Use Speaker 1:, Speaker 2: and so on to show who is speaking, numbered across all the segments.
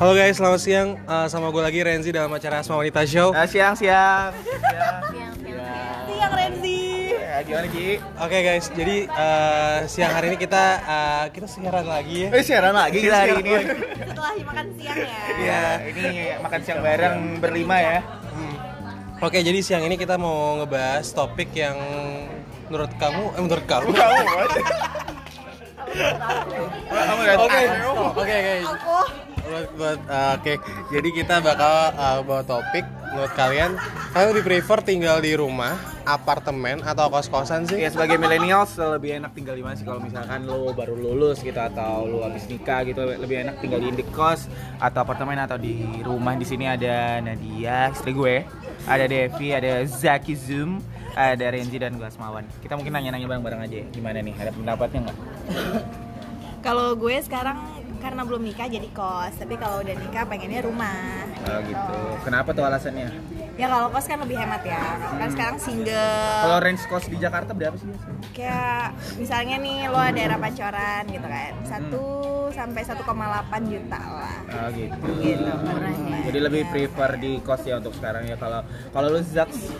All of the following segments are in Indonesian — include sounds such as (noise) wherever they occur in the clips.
Speaker 1: Halo guys, selamat siang. Eh, sama gue lagi Renzi dalam acara Asma Wanita Show.
Speaker 2: Eh, siang siang.
Speaker 3: Siang Renzi.
Speaker 2: Ya, gimana Ki?
Speaker 1: Oke guys, jadi eh, siang hari ini kita eh, kita siaran lagi ya.
Speaker 2: Eh siaran lagi kita hari ini.
Speaker 3: Setelah makan siang ya.
Speaker 2: Iya, ini makan siang bareng berlima ya.
Speaker 1: Oke, jadi siang ini kita mau ngebahas topik yang menurut kamu, eh menurut kamu. Oke,
Speaker 2: Kamu what? Kamu lihat.
Speaker 1: oke, oke.
Speaker 3: Aku
Speaker 1: Buat, buat, eh, oke. Jadi kita bakal eh, bawa topik menurut kalian, kalian lebih prefer tinggal di rumah, apartemen atau kos-kosan sih?
Speaker 2: Ya sebagai millennials lebih enak tinggal di mana sih kalau misalkan lo baru lulus gitu atau lo habis nikah gitu lebih enak tinggal di indekos atau apartemen atau di rumah di sini ada Nadia istri gue ada Devi ada Zaki Zoom ada Renzi dan gue Asmawan kita mungkin nanya-nanya bareng-bareng aja ya. gimana nih ada pendapatnya nggak
Speaker 3: kalau gue sekarang karena belum nikah jadi kos, tapi kalau udah nikah pengennya rumah.
Speaker 2: oh, gitu kenapa tuh alasannya
Speaker 3: Ya kalau kos kan lebih hemat ya. Kalau kan sekarang single.
Speaker 2: kalau range kos di Jakarta berapa sih biasanya
Speaker 3: Kayak misalnya nih lo daerah Pancoran gitu kan. 1 sampai 1,8 juta lah.
Speaker 2: Oh gitu.
Speaker 3: Gitu, murah ya.
Speaker 2: Jadi lebih prefer di kos ya untuk sekarang ya kalau kalau lu Zaks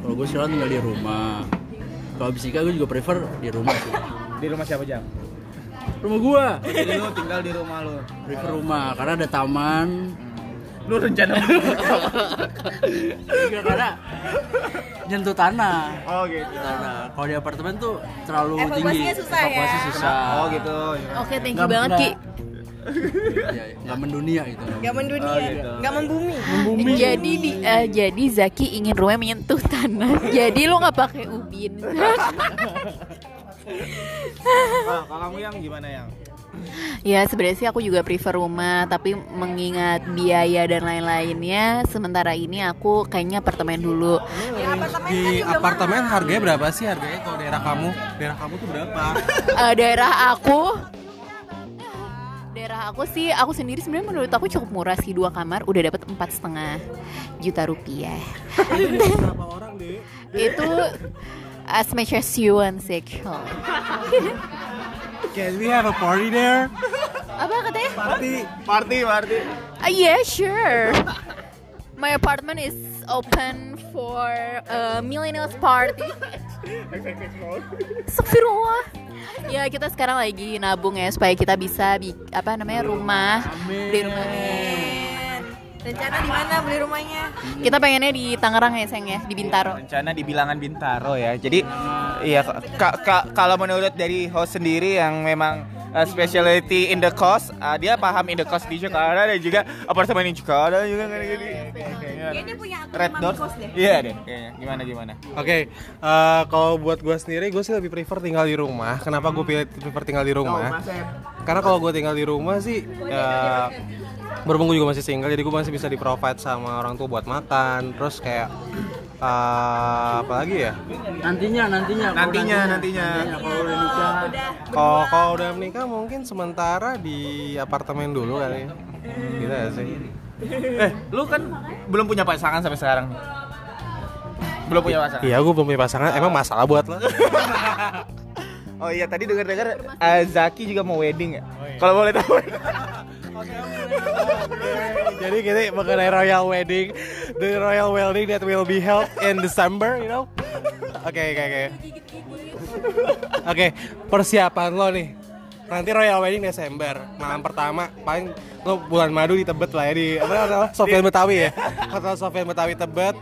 Speaker 4: Kalau gue sekarang tinggal di rumah. Kalau habis nikah gue juga prefer di rumah sih.
Speaker 2: di rumah siapa jam?
Speaker 4: Rumah gue.
Speaker 2: Jadi lu tinggal di rumah lu.
Speaker 4: Prefer rumah karena ada taman.
Speaker 2: Lu rencana mau-
Speaker 4: Juga karena nyentuh tanah.
Speaker 2: Oh gitu.
Speaker 4: Tanah. Kalau di apartemen tuh terlalu
Speaker 3: Evakuasinya
Speaker 4: tinggi.
Speaker 3: susah ya.
Speaker 4: Evakuasi susah.
Speaker 2: Oh gitu.
Speaker 5: Oke, thank you
Speaker 4: Nggak-
Speaker 5: banget Ki.
Speaker 4: nggak- Iya, iya. Nggak mendunia gitu.
Speaker 3: Gak mendunia,
Speaker 2: Oh, gitu.
Speaker 3: gak membumi.
Speaker 5: Jadi di, eh, jadi Zaki ingin rumahnya menyentuh tanah. (laughs) jadi lu nggak pakai ubin. (laughs)
Speaker 2: Ah, kalau kamu yang gimana yang?
Speaker 5: ya sebenarnya sih aku juga prefer rumah, tapi mengingat biaya dan lain-lainnya, sementara ini aku kayaknya apartemen dulu.
Speaker 3: Ya, apartemen kan
Speaker 1: Di
Speaker 3: juga
Speaker 1: apartemen harganya berapa sih harganya kalau daerah kamu? Daerah kamu tuh
Speaker 3: (laughs)
Speaker 1: berapa?
Speaker 5: Eh, daerah aku daerah aku sih aku sendiri sebenarnya menurut aku cukup murah sih dua kamar udah dapat empat setengah juta rupiah
Speaker 1: berapa orang deh?
Speaker 5: itu as much as you want sexual
Speaker 1: Can we have a party there?
Speaker 5: apa ya? katanya
Speaker 1: Party.
Speaker 2: Party, party.
Speaker 5: Uh, yeah, sure. My apartment is open for uh, millennials party. Astagfirullah. Ya kita sekarang lagi nabung ya supaya kita bisa bi- apa namanya rumah di rumah.
Speaker 3: Apartemen. Rencana di mana beli rumahnya?
Speaker 5: Kita pengennya di Tangerang ya sayang ya di Bintaro.
Speaker 2: Rencana di bilangan Bintaro ya. Jadi iya ka- ka- kalau menurut dari host sendiri yang memang uh, specialty in the cost, uh, dia paham in the cost di Jakarta dan juga apartemen di Jakarta juga kan gitu.
Speaker 3: Iya, Kayaknya punya akun
Speaker 2: Red
Speaker 3: Mami
Speaker 2: Doors.
Speaker 3: Kos deh.
Speaker 2: Iya deh. Kayaknya. Gimana gimana?
Speaker 1: Oke, eh, kalau buat gue sendiri, gue sih lebih prefer tinggal di rumah. Kenapa gue pilih prefer tinggal di
Speaker 2: Oh,
Speaker 1: rumah? Karena kalau gue tinggal di rumah sih, ya, berhubung gue juga masih single, jadi gue masih bisa di provide sama orang tua buat makan. Terus kayak eh, apa lagi ya?
Speaker 4: Nantinya, nantinya. kalau
Speaker 2: Nantinya, nantinya.
Speaker 4: Kalau udah
Speaker 3: Oh,
Speaker 4: nikah.
Speaker 1: Kalau kalau udah menikah mungkin sementara di apartemen dulu kali ya. Gitu ya sih.
Speaker 2: Eh, lu kan belum punya pasangan sampai sekarang nih. Belum punya pasangan.
Speaker 1: Iya, gue belum punya pasangan. Emang masalah buat lo?
Speaker 2: Oh iya, tadi dengar-dengar eh, Zaki juga mau wedding ya? Kalau boleh tahu.
Speaker 1: Jadi kita mengenai royal wedding, the royal wedding that will be held in December, you know. Oke, oke, oke. Oke, persiapan lo nih. Nanti royal wedding Desember, malam pertama, paling lo bulan madu di Tebet lah ya di apa adalah Sofian Betawi ya. Hotel Sofian Betawi Tebet.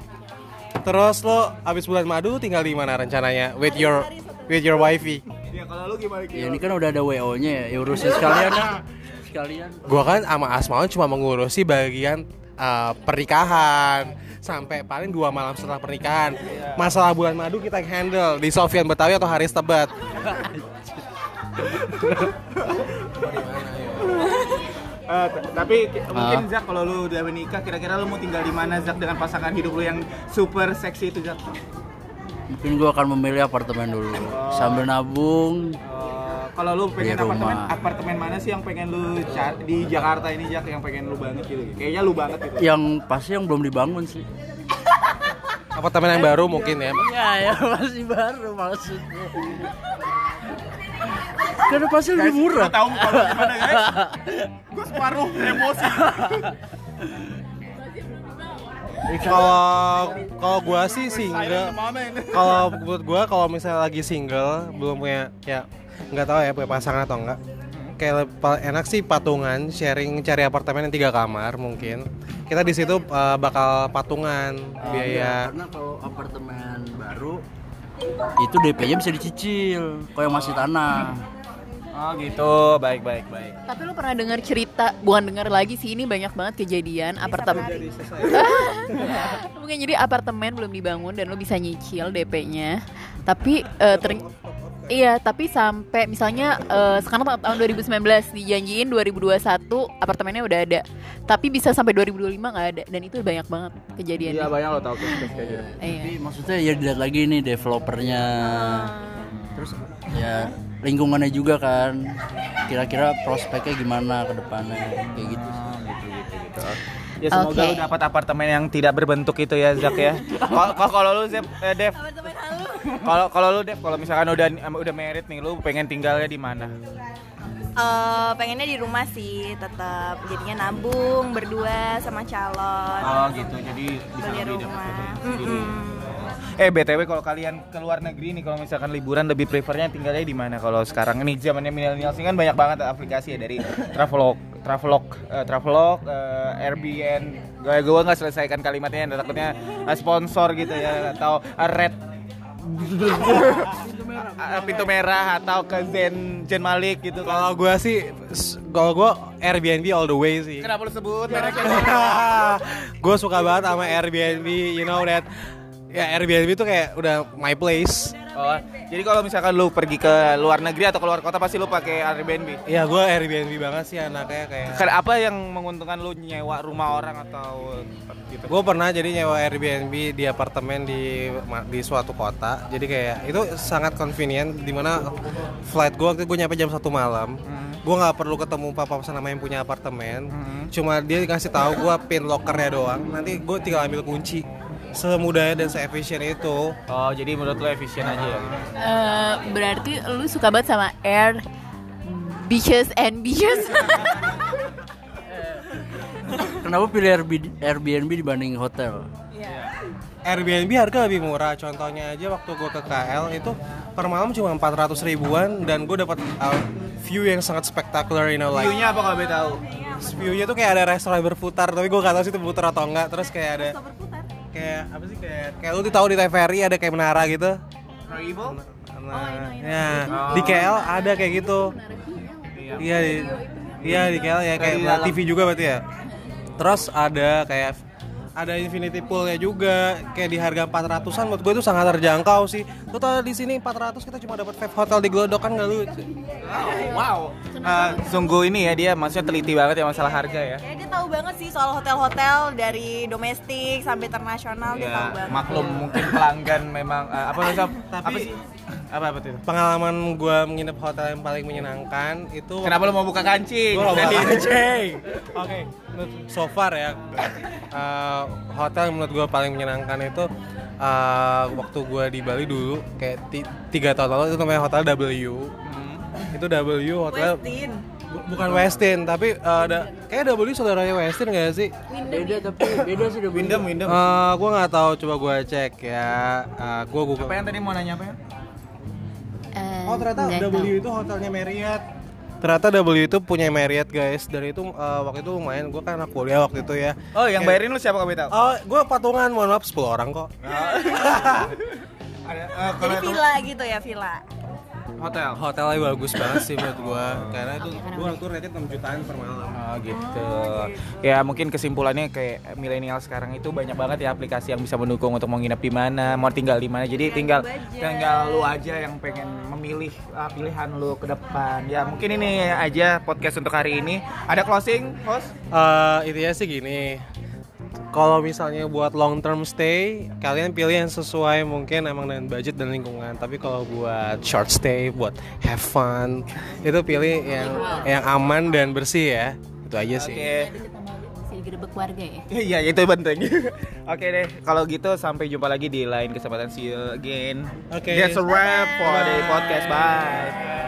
Speaker 1: Terus lo abis bulan madu tinggal di mana rencananya with your with your wifey?
Speaker 2: Iya, kalau lu gimana
Speaker 4: Ya ini kan udah ada WO-nya ya. Ya urusin sekalian lah. Sekalian.
Speaker 1: Gua kan sama Asmaul cuma mengurusi bagian uh, pernikahan sampai paling dua malam setelah pernikahan. Masalah bulan madu kita yang handle di Sofian Betawi atau Haris Tebet.
Speaker 2: Eh, tapi ki- mungkin Zak kalau lu udah menikah kira-kira lu mau tinggal di mana Zak dengan pasangan hidup lu yang super seksi itu Zak?
Speaker 4: Mungkin gue akan memilih apartemen dulu.
Speaker 2: Oh.
Speaker 4: Sambil nabung.
Speaker 2: Eh, kalau lu pengen
Speaker 4: Di
Speaker 2: apartemen,
Speaker 4: rumah.
Speaker 2: apartemen mana sih yang pengen lu cari di Jakarta ini Zak yang pengen lu banget gitu? Kayaknya lu banget gitu.
Speaker 4: Yang pasti yang belum dibangun sih.
Speaker 1: Apartemen yang baru mungkin ya.
Speaker 4: (laughs) Iya, ya masih baru maksudnya. Karena Kan pasti lebih murah.
Speaker 2: Gua tahu kalau gimana guys. Gue separuh emosi.
Speaker 1: Kalau kalau gua sih single.
Speaker 2: Silent moment.
Speaker 1: Kalau buat gua kalau misalnya lagi single belum punya ya nggak tahu ya punya pasangan atau enggak. Kayak le- pa- enak sih patungan, sharing cari apartemen yang tiga kamar mungkin. Kita di situ eh, bakal patungan
Speaker 2: Iya.
Speaker 1: biaya.
Speaker 4: Iya, Karena kalau apartemen baru itu DP-nya bisa dicicil. Kalau yang masih tanah.
Speaker 2: Oh gitu, baik baik baik.
Speaker 5: Tapi lu pernah dengar cerita, bukan dengar lagi sih ini banyak banget kejadian apartemen. (laughs) Mungkin jadi apartemen belum dibangun dan lu bisa nyicil DP-nya. Tapi eh, ter- Iya, tapi sampai misalnya eh, sekarang ta- tahun 2019 dijanjiin 2021 apartemennya udah ada. Tapi bisa sampai 2025 nggak ada dan itu banyak banget
Speaker 2: Iya
Speaker 5: kejadiannya.
Speaker 2: banyak lo tau kayak kayak gitu.
Speaker 5: Iya.
Speaker 4: Tapi maksudnya ya dilihat lagi nih developernya. Terus ya lingkungannya juga kan. Kira-kira prospeknya gimana ke depannya kayak gitu. sih.
Speaker 2: gitu gitu gitu. Ya semoga
Speaker 5: Oke.
Speaker 2: lu dapat apartemen yang tidak berbentuk itu ya Zak ya. Kalau kalau- kalau lu Zep, eh, Dev,
Speaker 3: Teman-teman halu.
Speaker 2: kalau kalau lu Dev, kalau misalkan udah udah merit nih, lu pengen tinggalnya di mana?
Speaker 3: Eh, pengennya di rumah sih tetap jadinya nabung berdua sama calon
Speaker 2: Oh gitu, jadi bisa
Speaker 3: beli
Speaker 2: lebih dapat
Speaker 3: rumah.
Speaker 2: sendiri.
Speaker 3: Mm-mm.
Speaker 2: Eh BTW kalau kalian ke luar negeri nih kalau misalkan liburan lebih prefernya tinggalnya di mana kalau sekarang ini zamannya milenial sih kan banyak banget aplikasi ya dari Travelog, Travelog, eh, Travelog, eh, Airbnb. Gue gue nggak selesaikan kalimatnya takutnya eh, sponsor gitu ya atau eh, Red (laughs) Eh, pintu merah atau ke Zen Zen Malik gitu kan.
Speaker 1: Kalau gua sih s- kalau gua Airbnb all the way sih. (laughs)
Speaker 2: Kenapa lu sebut mereknya?
Speaker 1: gue suka banget sama Airbnb, you know that. Ya Airbnb itu kayak udah my place.
Speaker 2: Oh, jadi kalau misalkan lu pergi ke luar negeri atau keluar kota pasti lu pakai Airbnb.
Speaker 1: Ya gue Airbnb banget sih anaknya kayak.
Speaker 2: Kan apa yang menguntungkan lu nyewa rumah orang atau gitu?
Speaker 1: Gue pernah jadi nyewa Airbnb di apartemen di ma- di suatu kota. Jadi kayak itu sangat convenient dimana flight gue waktu gue nyampe jam 1 malam. Gue nggak perlu ketemu papa sama yang punya apartemen. Cuma dia dikasih tahu gue pin lockernya doang. Nanti gue tinggal ambil kunci. Semudahnya dan seefisien itu.
Speaker 2: Oh, jadi menurut lu efisien aja ya?
Speaker 5: Eh, berarti lu suka banget sama air beaches and beaches.
Speaker 4: Kenapa pilih Airb- Airbnb dibanding hotel?
Speaker 1: Airbnb harga lebih murah. Contohnya aja waktu gue ke KL itu per malam cuma 400 ribuan dan gue dapat uh, view yang sangat spektakuler, you know like
Speaker 2: View-nya apa kalau boleh tahu?
Speaker 1: view-nya tuh kayak ada restoran berputar tapi gue gak tahu sih itu berputar atau enggak terus kayak ada kayak apa sih kayak kayak lu tahu di TVRI ada kayak menara gitu
Speaker 2: Royable?
Speaker 1: nah, ya, di KL ada kayak gitu iya di iya di KL ya kayak
Speaker 2: dalam.
Speaker 1: TV juga berarti ya terus ada kayak ada infinity poolnya juga kayak di harga 400-an menurut gue itu sangat terjangkau sih lu tau di sini 400 kita cuma dapat five hotel di Glodok kan gak lucu
Speaker 2: Wow. Eh, sungguh ini ya dia maksudnya teliti banget ya masalah harga ya.
Speaker 3: Kayaknya dia tahu banget sih soal hotel-hotel dari domestik sampai internasional dia tahu
Speaker 2: Ya,
Speaker 3: banget.
Speaker 2: maklum mungkin pelanggan memang eh, apa namanya? apa sih? Apa apa itu?
Speaker 1: pengalaman gue menginap hotel yang paling menyenangkan itu
Speaker 2: Kenapa lu mau buka kancing?
Speaker 1: Gua nggak bakal-
Speaker 2: Jadi-
Speaker 1: Oke, menurut- so far ya uh, hotel yang menurut gue paling menyenangkan itu uh, waktu gue di Bali dulu kayak ti- tiga tahun lalu itu namanya hotel W. Itu W hotel
Speaker 3: Westin.
Speaker 1: bu- bukan Westin tapi uh, ada kayak W saudaranya Westin gak sih?
Speaker 4: Beda tapi beda sih udah
Speaker 2: Windem, Windem.
Speaker 1: Eh gue nggak tahu coba gue cek ya. Eh, gue google.
Speaker 2: Apa yang tadi mau nanya apa ya?
Speaker 5: Eh,
Speaker 1: Oh ternyata
Speaker 5: nggak tahu.
Speaker 1: W itu hotelnya Marriott. Ternyata W itu punya Marriott guys. Dan itu eh, waktu itu lumayan. Gue kan anak kuliah waktu itu ya.
Speaker 2: Oh, yang bayarin lu siapa kalau boleh tahu?
Speaker 1: Oh, gue patungan, mohon maaf 10 orang kok.
Speaker 2: Ada eh, kalau
Speaker 3: Jadi
Speaker 2: itu
Speaker 3: villa gitu ya villa.
Speaker 2: hotel.
Speaker 1: Hotelnya bagus banget sih menurut gue, karena itu gue waktu rated 6 jutaan per malam.
Speaker 2: Oh gitu. Ya mungkin kesimpulannya kayak milenial sekarang itu banyak banget ya aplikasi yang bisa mendukung untuk mau nginep di mana, mau tinggal di mana. Jadi tinggal tinggal lu aja yang pengen memilih uh, pilihan lu ke depan. Ya mungkin ini aja podcast untuk hari ini. Ada closing, host?
Speaker 1: Eh intinya sih gini, kalau misalnya buat long term stay, kalian pilih yang sesuai mungkin emang dengan budget dan lingkungan. Tapi kalau buat short stay, buat have fun, itu pilih yang yang aman dan bersih ya. Itu aja sih.
Speaker 2: Oke.
Speaker 5: Sih. digerebek warga ya
Speaker 2: (laughs) Iya itu penting. Oke deh, kalau gitu sampai jumpa lagi di lain kesempatan. See you again.
Speaker 1: Oke.
Speaker 2: That's a wrap for the podcast. Bye.